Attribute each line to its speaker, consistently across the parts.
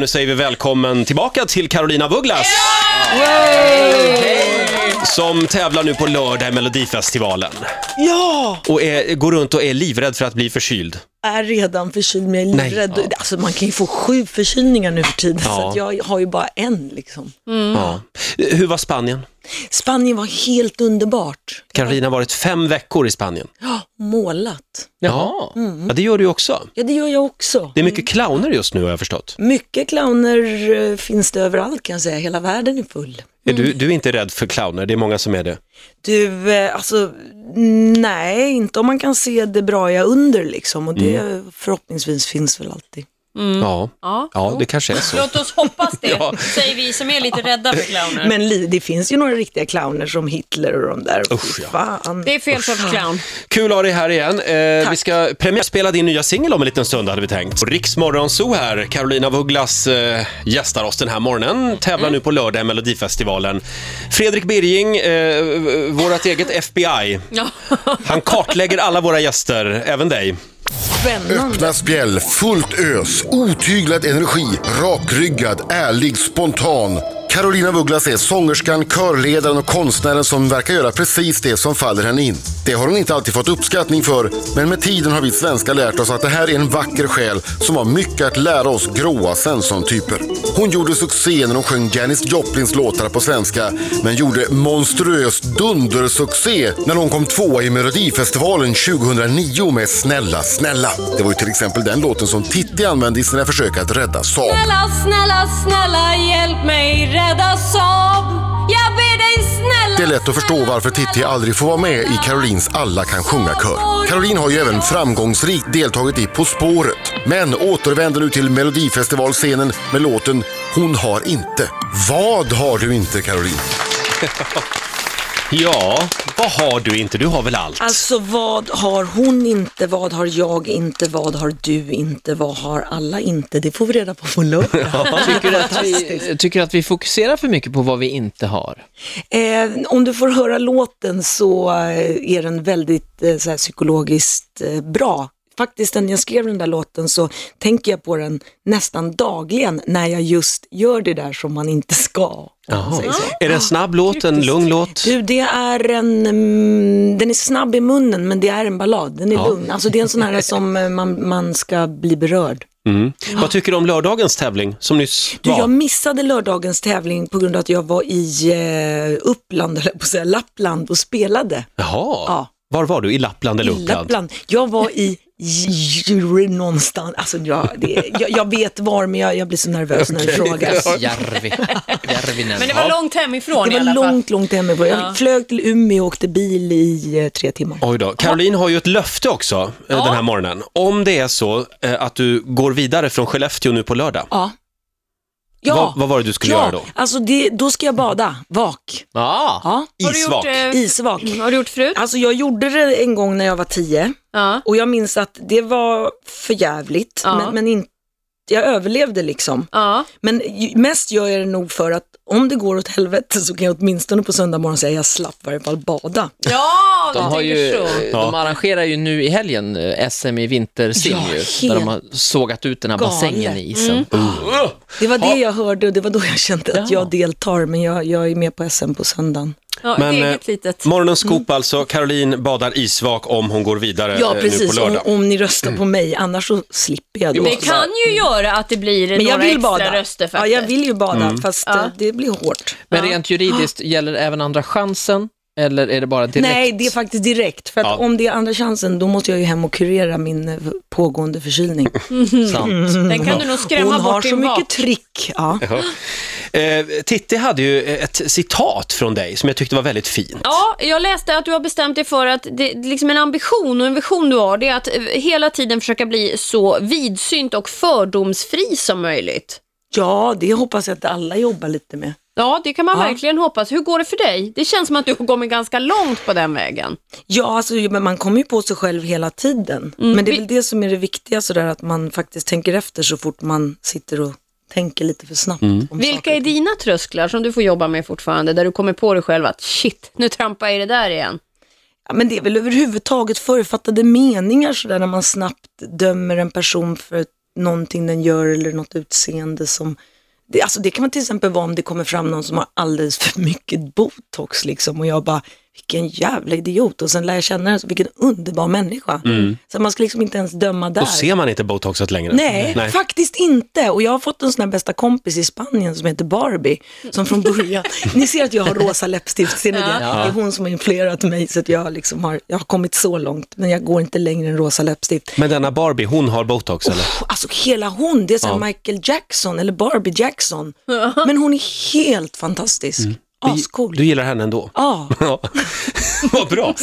Speaker 1: Nu säger vi välkommen tillbaka till Carolina af Ugglas som tävlar nu på lördag i Melodifestivalen
Speaker 2: Ja!
Speaker 1: och är, går runt och är livrädd för att bli förkyld.
Speaker 2: Är redan förkyld, men jag är
Speaker 1: Nej.
Speaker 2: livrädd. Alltså man kan ju få sju förkylningar nu för tiden,
Speaker 1: Ja.
Speaker 2: så att jag har ju bara en liksom.
Speaker 1: Ja. Hur var Spanien?
Speaker 2: Spanien var helt underbart.
Speaker 1: Carolina har varit fem veckor i Spanien.
Speaker 2: Ja, målat.
Speaker 1: Jaha. Ja, det gör du ju också.
Speaker 2: Ja, det gör jag också.
Speaker 1: Det är mycket clowner just nu har jag förstått.
Speaker 2: Mycket clowner eh, finns det överallt kan jag säga, hela världen är full.
Speaker 1: Är Du, du är inte rädd för clowner, det är många som är det.
Speaker 2: Du, eh, alltså, nej, inte om man kan se det bra jag under liksom. Och det
Speaker 1: Mm.
Speaker 2: förhoppningsvis finns väl alltid.
Speaker 1: Ja.
Speaker 3: Ja.
Speaker 1: ja, det kanske är så.
Speaker 3: Låt oss hoppas det,
Speaker 1: Ja.
Speaker 3: säger vi som är lite rädda för clowner.
Speaker 2: Men li- det finns ju några riktiga clowner som Hitler och de där.
Speaker 1: Usch,
Speaker 2: Fy
Speaker 1: ja.
Speaker 2: Fan.
Speaker 3: det är fel sorts clown.
Speaker 1: Kul att ha dig här igen. Eh, vi ska premiärspela din nya singel om en liten stund hade vi tänkt. Riksmorgonzoo här. Carolina af Ugglas eh, gästar oss den här morgonen. Tävlar nu på lördag i Melodifestivalen. Fredrik Birging, eh, vårt eget FBI.
Speaker 3: Ja.
Speaker 1: Han kartlägger alla våra gäster, även dig.
Speaker 4: Öppna spjäll, fullt ös, otyglad energi, rakryggad, ärlig, spontan. Carolina Vugglas är sångerskan, körledaren och konstnären som verkar göra precis det som faller henne in. Det har hon inte alltid fått uppskattning för, men med tiden har vi svenskar lärt oss att det här är en vacker själ som har mycket att lära oss gråa Svensson-typer. Hon gjorde succé när hon sjöng Janis Joplins låtar på svenska, men gjorde monstruös dundersuccé när hon kom tvåa i Melodifestivalen 2009 med Snälla snälla. Det var ju till exempel den låten som Titti använde i sina försök att rädda Saab.
Speaker 5: Snälla, snälla, snälla hjälp mig rädda Saab. Jag ber dig snälla.
Speaker 4: Det är lätt att förstå varför Titti aldrig får vara med i Carolins Alla kan sjunga-kör. Caroline har ju även framgångsrikt deltagit i På spåret. Men återvänder nu till Melodifestivalscenen med låten Hon har inte. Vad har du inte Caroline?
Speaker 1: Ja, vad har du inte? Du har väl allt?
Speaker 2: Alltså vad har hon inte, vad har jag inte, vad har du inte, vad har alla inte? Det får vi reda på på lördag.
Speaker 6: Tycker du att vi, tycker du att vi fokuserar för mycket på vad vi inte har?
Speaker 2: eh, om du får höra låten så eh, är den väldigt eh, så här, psykologiskt eh, bra. Faktiskt när jag skrev den där låten så tänker jag på den nästan dagligen när jag just gör det där som man inte ska. om man säger så.
Speaker 1: Är det en snabb låt, en lugn låt?
Speaker 2: Du, det är en, mm, den är snabb i munnen men det är en ballad, den är lugn. Alltså det är en sån här som eh, man, man ska bli berörd.
Speaker 1: Mm. Vad tycker du om lördagens tävling som nyss
Speaker 2: Du, jag
Speaker 1: var?
Speaker 2: missade lördagens tävling på grund av att jag var i eh, Uppland, eller på att säga Lappland och spelade.
Speaker 1: Jaha,
Speaker 2: Ja.
Speaker 1: var var du? I Lappland eller
Speaker 2: I
Speaker 1: Uppland?
Speaker 2: Lappland. Jag var i Jure någonstans, alltså jag, det, jag, jag vet var men jag, jag blir så nervös när du frågar.
Speaker 6: Järvi. Järvinen.
Speaker 3: Men det var långt hemifrån
Speaker 2: Det
Speaker 3: i alla
Speaker 2: var
Speaker 3: fall.
Speaker 2: långt, långt hemifrån. Jag flög till Umeå och åkte bil i eh, tre timmar.
Speaker 1: Oj då. Caroline har ju ett löfte också eh, den här morgonen. Om det är så eh, att du går vidare från Skellefteå nu på lördag,
Speaker 2: Ja. Ja.
Speaker 1: vad, vad var det du skulle
Speaker 2: ja,
Speaker 1: göra då?
Speaker 2: Alltså det, då ska jag bada, vak.
Speaker 6: Ja.
Speaker 2: Ja,
Speaker 3: Har du
Speaker 1: Isvak.
Speaker 3: gjort, eh,
Speaker 2: isvak.
Speaker 3: har du gjort förut?
Speaker 2: Alltså jag gjorde det en gång när jag var tio
Speaker 3: Ja.
Speaker 2: och jag minns att det var för jävligt
Speaker 3: Ja.
Speaker 2: men, men in, jag överlevde liksom.
Speaker 3: Ja.
Speaker 2: Men ju- mest gör jag det nog för att om det går åt helvete så kan jag åtminstone på söndag morgon säga jag slapp i varje fall bada.
Speaker 3: Ja,
Speaker 6: De, har
Speaker 3: du
Speaker 6: ju,
Speaker 3: tänker så.
Speaker 6: de arrangerar ju nu i helgen eh, SM i vintersim
Speaker 2: Ja,
Speaker 6: ju, där de har sågat ut den här
Speaker 2: galet.
Speaker 6: bassängen i isen.
Speaker 2: Det var det jag hörde och det var då jag kände att
Speaker 6: Ja.
Speaker 2: jag deltar men jag, jag är med på SM på söndagen.
Speaker 3: Ja, ett
Speaker 1: Men,
Speaker 3: eget
Speaker 1: eh,
Speaker 3: litet.
Speaker 1: Morgonens scoop alltså, Caroline badar isvak om hon går vidare
Speaker 2: Mm. Ja
Speaker 1: eh, nu på
Speaker 2: precis, om,
Speaker 1: lördag. Mm.
Speaker 2: om ni röstar på mig annars så slipper jag då.
Speaker 3: Det kan ju göra att det blir
Speaker 2: men jag
Speaker 3: några
Speaker 2: vill
Speaker 3: extra
Speaker 2: bada.
Speaker 3: röster
Speaker 2: ja,
Speaker 3: faktiskt.
Speaker 2: jag vill ju bada
Speaker 1: Mm.
Speaker 2: fast eh, det blir hårt.
Speaker 6: Men rent juridiskt, gäller det även andra chansen? Eller är det bara direkt?
Speaker 2: Nej, det är faktiskt direkt. För att
Speaker 1: Ja.
Speaker 2: om det är andra chansen, då måste jag ju hem och kurera min eh, pågående förkylning.
Speaker 6: sant.
Speaker 2: Mm.
Speaker 3: Den kan du nog skrämma
Speaker 2: Hon
Speaker 3: bort
Speaker 2: har så
Speaker 3: din
Speaker 2: mycket
Speaker 3: bak.
Speaker 2: trick. Ja.
Speaker 1: Eh, Titti hade ju ett citat från dig som jag tyckte var väldigt fint.
Speaker 3: Ja, jag läste att du har bestämt dig för att det, liksom en ambition och en vision du har, det är att eh, hela tiden försöka bli så vidsynt och fördomsfri som möjligt.
Speaker 2: ja, det hoppas jag att alla jobbar lite med.
Speaker 3: Ja, det kan man
Speaker 2: Ja.
Speaker 3: verkligen hoppas. Hur går det för dig? Det känns som att du har kommit ganska långt på den vägen.
Speaker 2: Ja, alltså, men man kommer ju på sig själv hela tiden.
Speaker 3: Mm.
Speaker 2: Men det är väl det som är det viktiga, sådär, att man faktiskt tänker efter så fort man sitter och tänker lite för snabbt. Om
Speaker 3: Mm. Vilka är dina trösklar som du får jobba med fortfarande, där du kommer på dig själv att shit, nu trampar jag i det där igen.
Speaker 2: Ja, men det är väl överhuvudtaget författade meningar sådär när man snabbt dömer en person för någonting den gör eller något utseende som det, alltså det kan man till exempel vara om det kommer fram någon som har alldeles för mycket botox liksom och jag bara, vilken jävla idiot och sen lär jag känna den, så vilken underbar människa. Så man ska liksom inte ens döma där.
Speaker 1: Då ser man inte botoxet längre.
Speaker 2: Nej, faktiskt inte. Och jag har fått en sån här bästa kompis i Spanien som heter Barbie, som från början, ni ser att jag har rosa läppstift, ser ni det? Det är hon som har influerat mig så att jag, liksom har, jag har kommit så långt, men jag går inte längre än rosa läppstift.
Speaker 1: Men denna Barbie, hon har botox eller?
Speaker 2: Puh, Alltså hela hon, det är så här Michael Jackson eller Barbie Jackson. Men hon är helt fantastisk.
Speaker 1: Mm.
Speaker 2: Ascool.
Speaker 1: Du gillar henne ändå?
Speaker 2: Ja,
Speaker 1: Ja, vad bra.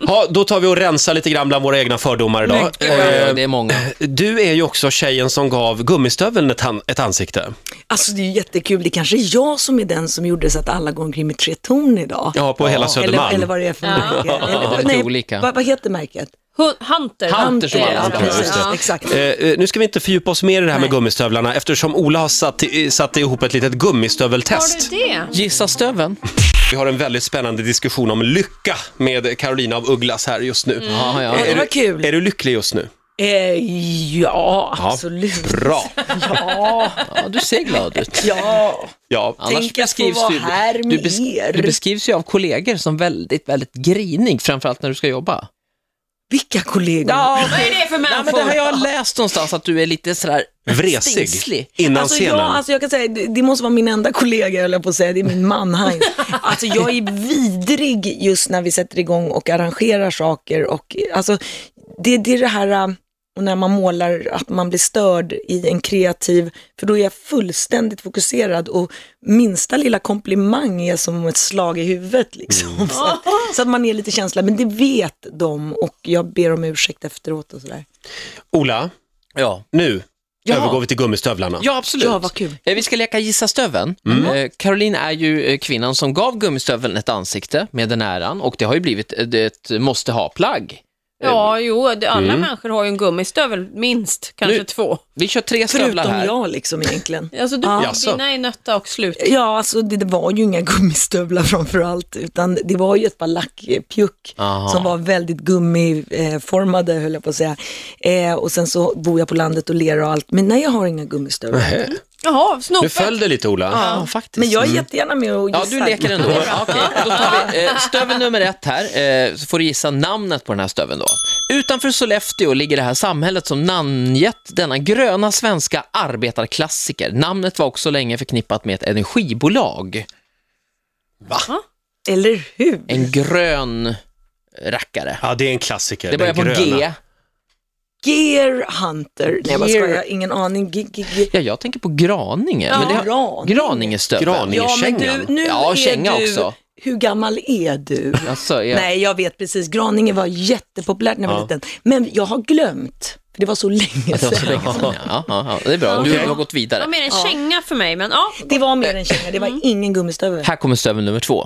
Speaker 1: Ja, då tar vi och rensar lite grann bland våra egna fördomar idag.
Speaker 6: Eh, Det är många.
Speaker 1: Du är ju också tjejen som gav gummistöveln ett, han- ett ansikte.
Speaker 2: alltså det är ju jättekul. Det kanske är jag som är den som gjorde så att alla går omkring med tre ton idag.
Speaker 1: Ja, på hela Södermalm.
Speaker 2: Eller, eller vad det är för märke. Eller,
Speaker 6: lite olika.
Speaker 2: Vad, vad heter märket?
Speaker 3: Hu- Hunter.
Speaker 6: Hunter som alla
Speaker 2: Ja,
Speaker 6: andra.
Speaker 2: precis.
Speaker 3: Ja.
Speaker 2: Exakt.
Speaker 1: Eh, eh, nu ska vi inte fördjupa oss mer i det här med
Speaker 2: Nej.
Speaker 1: gummistövlarna eftersom Ola har satt, i- satt ihop ett litet
Speaker 3: Har du
Speaker 1: gummistöveltest.
Speaker 3: det?
Speaker 6: Gissa stöven.
Speaker 1: Vi har en väldigt spännande diskussion om lycka med Carolina av Ugglas här just nu.
Speaker 6: Ja, ja.
Speaker 2: Ja, det var kul.
Speaker 1: Är du lycklig just nu?
Speaker 2: Eh, ja, absolut.
Speaker 1: Bra.
Speaker 2: Ja,
Speaker 6: ja, du ser glad ut.
Speaker 2: ja.
Speaker 1: Ja.
Speaker 2: Tänk att få vara här med
Speaker 6: du, bes-
Speaker 2: er.
Speaker 6: du beskrivs ju av kollegor som väldigt, väldigt grinig, framförallt när du ska jobba.
Speaker 2: Vilka kollegor.
Speaker 3: Vad är det för
Speaker 6: Nej, men
Speaker 3: människor?
Speaker 6: det har jag läst någonstans, att du är lite sådär
Speaker 1: Vresig.
Speaker 6: stingslig.
Speaker 1: Innan
Speaker 2: Alltså,
Speaker 1: scenen.
Speaker 2: jag, alltså jag kan säga, det, det måste vara min enda kollega höll jag på att säga, det är min man Heinz. Alltså jag är vidrig just när vi sätter igång och arrangerar saker och alltså det, det är det här äh, och när man målar att man blir störd i en kreativ, för då är jag fullständigt fokuserad och minsta lilla komplimang är som ett slag i huvudet liksom.
Speaker 1: Mm.
Speaker 2: Så, att, så att man är lite känslig, men det vet de och jag ber om ursäkt efteråt och sådär.
Speaker 1: Ola,
Speaker 6: Ja.
Speaker 1: nu
Speaker 6: Ja.
Speaker 1: övergår vi till gummistövlarna.
Speaker 6: Ja, absolut.
Speaker 2: Ja, vad kul. Mm.
Speaker 6: Eh, Vi ska leka gissa stöveln. Eh, Caroline är ju eh, kvinnan som gav gummistöveln ett ansikte med den äran och det har ju blivit eh, det- ett måste ha-plagg.
Speaker 3: Ja, jo, det, alla människor har ju en gummistövel, minst, kanske
Speaker 6: Mm. Nu-
Speaker 3: två.
Speaker 6: Vi kör tre stövlar
Speaker 2: Förutom
Speaker 6: här.
Speaker 2: jag liksom egentligen.
Speaker 3: Alltså, du,
Speaker 2: Ja.
Speaker 1: Jaså.
Speaker 3: dina är nötta och slut.
Speaker 2: Ja, alltså det, det var ju inga gummistövlar framför allt, utan det var ju ett par lackpjuck
Speaker 6: Aha.
Speaker 2: som var väldigt gummiformade, höll jag på att säga. Eh, och sen så bor jag på landet och ler och allt, men nej, jag har inga gummistövlar.
Speaker 1: Nähä.
Speaker 3: Jaha,
Speaker 1: Nu
Speaker 3: snoppet.
Speaker 1: föll det lite Ola.
Speaker 6: Ja, faktiskt.
Speaker 2: Men jag är jättegärna med och
Speaker 6: Mm. Ja,
Speaker 2: gissar.
Speaker 6: du leker ändå. Ja, Okej, då tar vi eh, stövel nummer ett här, eh, så får du gissa namnet på den här stöveln då. Utanför Sollefteå ligger det här samhället som namngett denna gröna svenska arbetarklassiker. Namnet var också länge förknippat med ett energibolag.
Speaker 2: Eller hur?
Speaker 6: En grön rackare.
Speaker 1: Ja, det är en klassiker.
Speaker 6: Det börjar på
Speaker 1: Den gröna.
Speaker 6: G.
Speaker 2: Gear Hunter. Nej, vad
Speaker 6: Gear-
Speaker 2: skojar, jag har ingen aning. G- g- g-
Speaker 6: Ja, jag tänker på Graninge. men det har...
Speaker 2: Graninge.
Speaker 6: Graningestövel.
Speaker 1: Graninge.
Speaker 2: Ja, men
Speaker 1: Kängan.
Speaker 2: du, nu
Speaker 6: Ja,
Speaker 2: är
Speaker 6: känga
Speaker 2: du...
Speaker 6: också.
Speaker 2: Hur gammal är du?
Speaker 6: Alltså, jag...
Speaker 2: Nej, jag vet precis. Graninge var jättepopulärt när jag var liten. Men jag har glömt, för det var så länge
Speaker 6: Det var så
Speaker 2: sedan.
Speaker 6: länge sedan, ja. Ja, ja, det är bra. Du har gått
Speaker 3: Det var
Speaker 6: vidare.
Speaker 3: mer en känga för mig, men ja.
Speaker 2: Det var mer en känga, det var
Speaker 3: mm.
Speaker 2: ingen gummistövel.
Speaker 6: Här kommer stövel nummer två.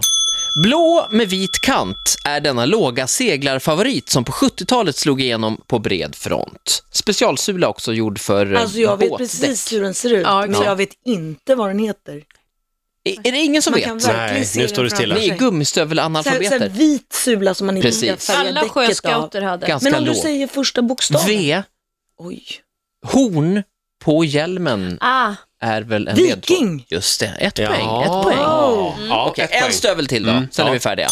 Speaker 6: Blå med vit kant är denna låga seglarfavorit som på 70-talet slog igenom på bred front. Specialsula också gjord för eh,
Speaker 2: Alltså jag vet
Speaker 6: båtdäck.
Speaker 2: precis hur den ser ut,
Speaker 3: Ja,
Speaker 2: men
Speaker 3: ja.
Speaker 2: jag vet inte vad den heter.
Speaker 6: Är är det ingen som
Speaker 2: Man
Speaker 6: vet?
Speaker 2: kan verkligen
Speaker 1: Nej,
Speaker 2: se
Speaker 1: nu
Speaker 2: den
Speaker 1: står det stilla.
Speaker 6: Ni
Speaker 2: framför
Speaker 6: är
Speaker 2: sig. Så här- så här
Speaker 6: gummistövelsanalytiker.
Speaker 2: vit sula som man inte ska
Speaker 6: Precis.
Speaker 2: färga
Speaker 3: Alla
Speaker 2: däcket av.
Speaker 3: sjöscouter hade.
Speaker 6: Ganska
Speaker 2: Men om du
Speaker 6: låg.
Speaker 2: säger första bokstaven.
Speaker 6: V.
Speaker 2: Oj.
Speaker 6: Horn på hjälmen
Speaker 3: Ah,
Speaker 6: är väl en
Speaker 2: Viking.
Speaker 6: ledtråd. Just det, ett
Speaker 1: Ja.
Speaker 6: poäng. Ett poäng.
Speaker 1: Ja,
Speaker 6: Okej,
Speaker 1: ett poäng. Mm,
Speaker 6: en stövel till då, sen
Speaker 1: ja.
Speaker 6: är vi färdiga.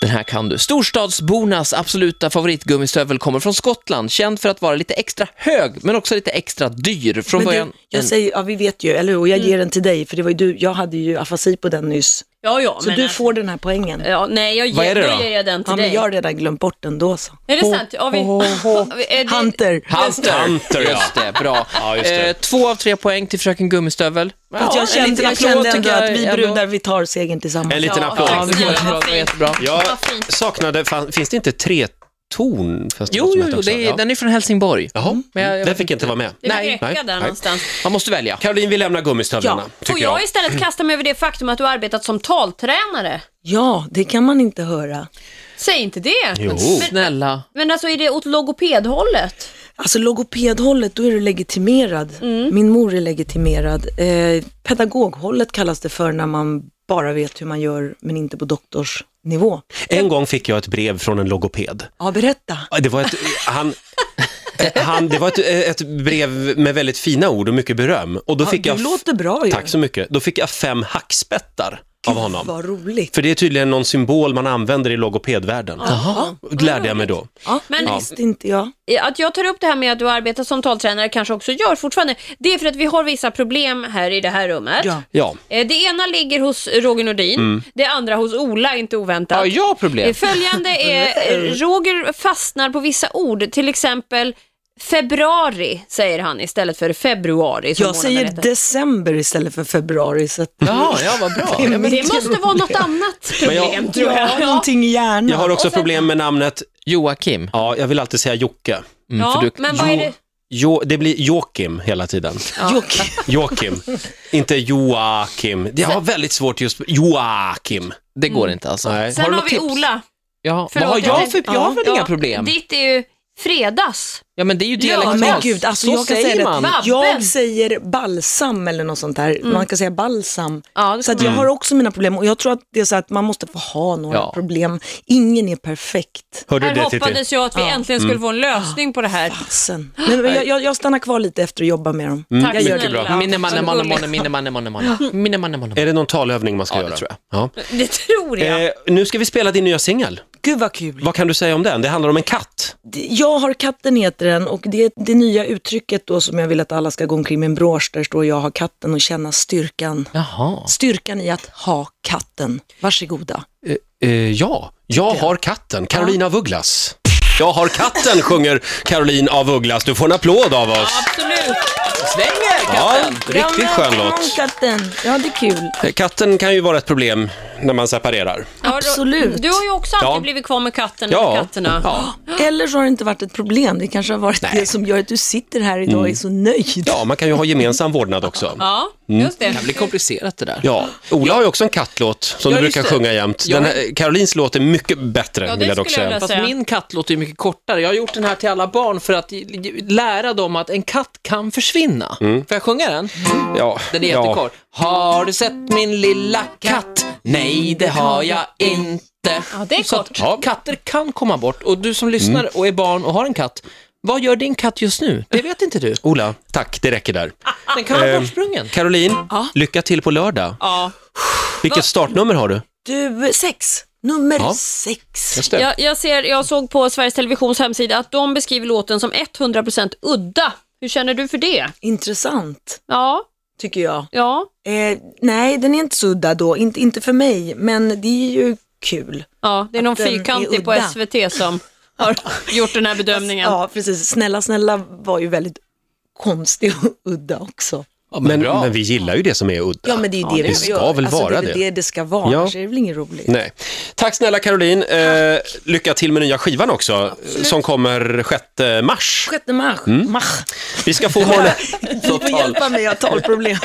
Speaker 6: Den här kan du. Storstadsbornas absoluta favoritgummistövel kommer från Skottland, känd för att vara lite extra hög, men också lite extra dyr. Från
Speaker 2: Men
Speaker 6: början... Mm.
Speaker 2: du, jag
Speaker 6: en-
Speaker 2: säger, ja vi vet ju, eller hur? Och
Speaker 3: Mm.
Speaker 2: jag ger den till dig, för det var ju du, jag hade ju afasi på den nyss.
Speaker 3: ja, ja.
Speaker 2: Så
Speaker 3: men
Speaker 2: du
Speaker 3: alltså-
Speaker 2: får den här poängen.
Speaker 3: Ja, nej, jag
Speaker 1: Vad är
Speaker 3: ger,
Speaker 1: det
Speaker 3: då
Speaker 1: då?
Speaker 3: ger jag den till
Speaker 2: Ja, men
Speaker 3: dig.
Speaker 2: jag har redan glömt bort den då så.
Speaker 3: Är det sant? Ja, vi... Är det-
Speaker 2: Hunter.
Speaker 6: Hunter.
Speaker 1: Hunter, ja.
Speaker 6: Just det, bra.
Speaker 1: Ja, just det.
Speaker 6: Eh, två av tre poäng till Fröken Gummistövel.
Speaker 2: Fast
Speaker 6: Ja, en
Speaker 2: jag kände,
Speaker 6: liten
Speaker 2: jag
Speaker 6: applåd
Speaker 2: kände
Speaker 6: tycker
Speaker 2: ändå
Speaker 6: jag
Speaker 2: att vi
Speaker 6: ändå.
Speaker 2: brudar, vi tar segern tillsammans.
Speaker 1: En liten
Speaker 3: Ja,
Speaker 1: applåd.
Speaker 3: tack
Speaker 6: Det
Speaker 3: snälla,
Speaker 6: var jättebra,
Speaker 3: vad
Speaker 6: det var
Speaker 3: fint.
Speaker 6: jättebra.
Speaker 1: Jag
Speaker 3: Vad fint.
Speaker 1: saknade, fan, finns det inte tre ton? fast det
Speaker 6: Jo,
Speaker 1: som
Speaker 6: jo,
Speaker 1: heter
Speaker 6: jo
Speaker 1: också?
Speaker 6: det,
Speaker 1: Ja.
Speaker 6: är- den är från Helsingborg.
Speaker 1: Jaha,
Speaker 6: Men jag- jag
Speaker 1: den
Speaker 6: vet
Speaker 1: fick inte vara med.
Speaker 3: Det fick räcka
Speaker 1: nej,
Speaker 3: där
Speaker 1: nej.
Speaker 3: någonstans.
Speaker 6: Man måste välja.
Speaker 1: Caroline, vi lämnar gummistövlarna,
Speaker 3: Får
Speaker 1: tycker jag.
Speaker 3: jag istället kasta mig över det faktum att du har arbetat som taltränare?
Speaker 2: Ja, det kan man inte höra.
Speaker 3: Säg inte det.
Speaker 1: Jo.
Speaker 6: Snälla.
Speaker 3: Men alltså är det åt logopedhållet?
Speaker 2: Alltså logopedhållet, då är du legitimerad. Min mor är legitimerad. Eh, pedagoghållet kallas det för när man bara vet hur man gör, men inte på doktorsnivå.
Speaker 1: En gång fick jag ett brev från en logoped.
Speaker 2: Ja, berätta.
Speaker 1: Det var ett, han, Han, det var ett, ett brev med väldigt fina ord och mycket beröm. Och då
Speaker 2: Ja,
Speaker 1: fick
Speaker 2: du
Speaker 1: jag,
Speaker 2: låter bra ju.
Speaker 1: Tack så mycket. Då fick jag fem hackspettar av honom.
Speaker 2: Vad roligt.
Speaker 1: För det är tydligen någon symbol man använder i logopedvärlden.
Speaker 6: Jaha. Mm.
Speaker 1: Lärde jag mig då.
Speaker 2: Ja,
Speaker 3: Men-
Speaker 2: men visste inte jag.
Speaker 3: Att jag tar upp det här med att du arbetar som taltränare kanske också gör fortfarande, det är för att vi har vissa problem här i det här rummet.
Speaker 2: Ja.
Speaker 1: Ja,
Speaker 3: Eh, Det ena ligger hos Roger Nordin, det andra hos Ola, inte oväntat.
Speaker 6: Mm. Ja, jag har
Speaker 3: Eh,
Speaker 6: problem.
Speaker 3: Följande är, eh, Roger fastnar på vissa ord, till exempel februari säger han istället för februari. Som
Speaker 2: Jag
Speaker 3: månaden
Speaker 2: säger
Speaker 3: heter.
Speaker 2: december istället för februari. Så att
Speaker 6: Jaha, ja vad bra. Ja, men-
Speaker 3: Det måste vara något annat problem tror jag.
Speaker 2: Ja, någonting i hjärnan.
Speaker 1: jag har också problem med namnet.
Speaker 6: Joakim.
Speaker 1: Ja, jag vill alltid säga Jocke.
Speaker 6: Mm,
Speaker 3: Ja,
Speaker 6: för du,
Speaker 3: men vad är det?
Speaker 1: Jo, det blir Joakim hela tiden.
Speaker 2: Jock.
Speaker 1: Joakim, inte Joakim. Jag har väldigt svårt just Joakim.
Speaker 6: det går
Speaker 2: Mm.
Speaker 6: inte alltså.
Speaker 1: Nej.
Speaker 3: Sen har,
Speaker 6: något
Speaker 3: vi
Speaker 6: tips?
Speaker 3: Ola.
Speaker 6: Ja, vad
Speaker 3: Förlåt,
Speaker 6: har
Speaker 3: jag-
Speaker 6: jag för, jag har väl
Speaker 3: Ja,
Speaker 6: inga problem?
Speaker 3: Ditt är ju fredags.
Speaker 6: Ja, Liksom, men det är ju
Speaker 2: Ja,
Speaker 6: dialektalt.
Speaker 2: men gud, alltså
Speaker 6: Så
Speaker 2: jag kan
Speaker 6: säger
Speaker 2: säga
Speaker 6: man.
Speaker 2: det.
Speaker 3: Babben.
Speaker 2: Jag säger balsam eller något sånt där. Man kan säga balsam.
Speaker 3: Ja, det
Speaker 2: Så att
Speaker 3: kan
Speaker 2: jag har också mina problem och jag tror att det är så att man måste få ha några
Speaker 6: Ja.
Speaker 2: problem. Ingen är perfekt.
Speaker 1: Hör du
Speaker 3: Här
Speaker 1: det Mm. Titti?
Speaker 3: hoppades jag att vi äntligen skulle få en lösning på det här.
Speaker 2: Sen. Men jag, jag, jag stannar kvar lite efter och jobbar med
Speaker 1: Mm.
Speaker 2: dem.
Speaker 3: Tack
Speaker 2: jag gör det.
Speaker 3: snälla.
Speaker 6: Minne manne
Speaker 2: Alltså,
Speaker 3: Vad
Speaker 6: manne
Speaker 3: gulligt.
Speaker 6: manne minne manne manne manne minne manne manne
Speaker 1: Är det någon talövning man ska
Speaker 6: Ja, det
Speaker 1: göra?
Speaker 6: tror
Speaker 1: jag.
Speaker 3: Det tror jag.
Speaker 1: Eh, nu ska vi spela din nya singel.
Speaker 2: Gud vad kul.
Speaker 1: Vad kan du säga om den? Det handlar om en katt.
Speaker 2: Jag har katten heter den och det är det nya uttrycket då som jag vill att alla ska gå omkring med en brosch. Där står jag har katten och känna styrkan.
Speaker 6: Jaha.
Speaker 2: Styrkan i att ha katten. Varsågoda.
Speaker 1: Eh, ja, jag har katten. Carolina af Ugglas. Jag har katten, sjunger Caroline af Ugglas. Du får en applåd av oss.
Speaker 3: Absolut.
Speaker 6: Svänger
Speaker 1: Ja,
Speaker 6: katten!
Speaker 1: riktigt skön
Speaker 2: Kom
Speaker 1: låt.
Speaker 2: igen, katten. Ja, det är kul.
Speaker 1: Eh, Katten kan ju vara ett problem när man separerar.
Speaker 3: Ja, då-
Speaker 2: Absolut.
Speaker 3: Du har ju också alltid
Speaker 1: Ja.
Speaker 3: blivit kvar med katten
Speaker 1: Ja.
Speaker 3: och katterna.
Speaker 1: Ja.
Speaker 2: Eller så har det inte varit ett problem. Det kanske har varit det som gör att du sitter här idag och är så nöjd.
Speaker 1: Mm. ja, man kan ju ha gemensam vårdnad också.
Speaker 3: Ja,
Speaker 1: Mm.
Speaker 3: just det.
Speaker 6: Det blir komplicerat det där.
Speaker 1: Ja, Ola har ju också en kattlåt som
Speaker 6: Ja,
Speaker 1: du
Speaker 6: just
Speaker 1: brukar
Speaker 6: det.
Speaker 1: sjunga jämt.
Speaker 6: Ja.
Speaker 1: Den här, Carolines låt är mycket bättre,
Speaker 3: Ja, det
Speaker 1: vill jag dock
Speaker 3: skulle
Speaker 1: säga.
Speaker 3: jag vilja
Speaker 6: Fast
Speaker 3: säga.
Speaker 6: min katt låter ju mycket kortare. Jag har gjort den här till alla barn för att lära dem att en katt kan försvinna. Får jag sjunga den?
Speaker 1: Ja,
Speaker 6: Den är
Speaker 1: ja.
Speaker 6: jättekort. Har du sett min lilla katt? Nej, det har jag inte.
Speaker 3: Ja, det är
Speaker 6: Så att
Speaker 3: kort.
Speaker 6: katter kan komma bort och du som lyssnar och är barn och har en katt, vad gör din katt just nu? Det vet inte du.
Speaker 1: Ola, tack, det räcker där.
Speaker 6: Den kan vara
Speaker 1: Ehm,
Speaker 6: bortsprungen.
Speaker 1: Caroline, lycka till på lördag.
Speaker 3: Ja.
Speaker 1: Vilket startnummer har du?
Speaker 2: Du, sex. Nummer
Speaker 1: Ja.
Speaker 2: sex.
Speaker 1: Just det.
Speaker 3: Jag, jag, ser, jag såg på Sveriges Televisions hemsida att de beskriver låten som 100% udda. Hur känner du för det?
Speaker 2: Intressant,
Speaker 3: Ja,
Speaker 2: tycker jag.
Speaker 3: ja,
Speaker 2: Eh, nej, den är inte så udda då. Inte, inte för mig, men det är ju kul.
Speaker 3: ja. Det är någon
Speaker 2: Att den är
Speaker 3: fyrkantig på
Speaker 2: udda.
Speaker 3: SVT som har gjort den här bedömningen.
Speaker 2: Ja, precis. Snälla, snälla var ju väldigt konstig och udda också.
Speaker 6: Ja,
Speaker 1: Men, men vi gillar ju det som är udda.
Speaker 2: Ja, men det är ju det
Speaker 1: det ska väl
Speaker 2: alltså,
Speaker 1: vara
Speaker 2: det. är
Speaker 1: det.
Speaker 2: det det ska vara,
Speaker 1: Ja.
Speaker 2: annars är det väl inget roligt.
Speaker 1: Nej. Tack snälla Caroline. Eh, lycka till med nya skivan också, eh, som kommer 6 mars.
Speaker 2: 6 mars. mars.
Speaker 1: Mm. Vi ska få morgon...
Speaker 2: Du får hjälpa mig, jag har talproblem.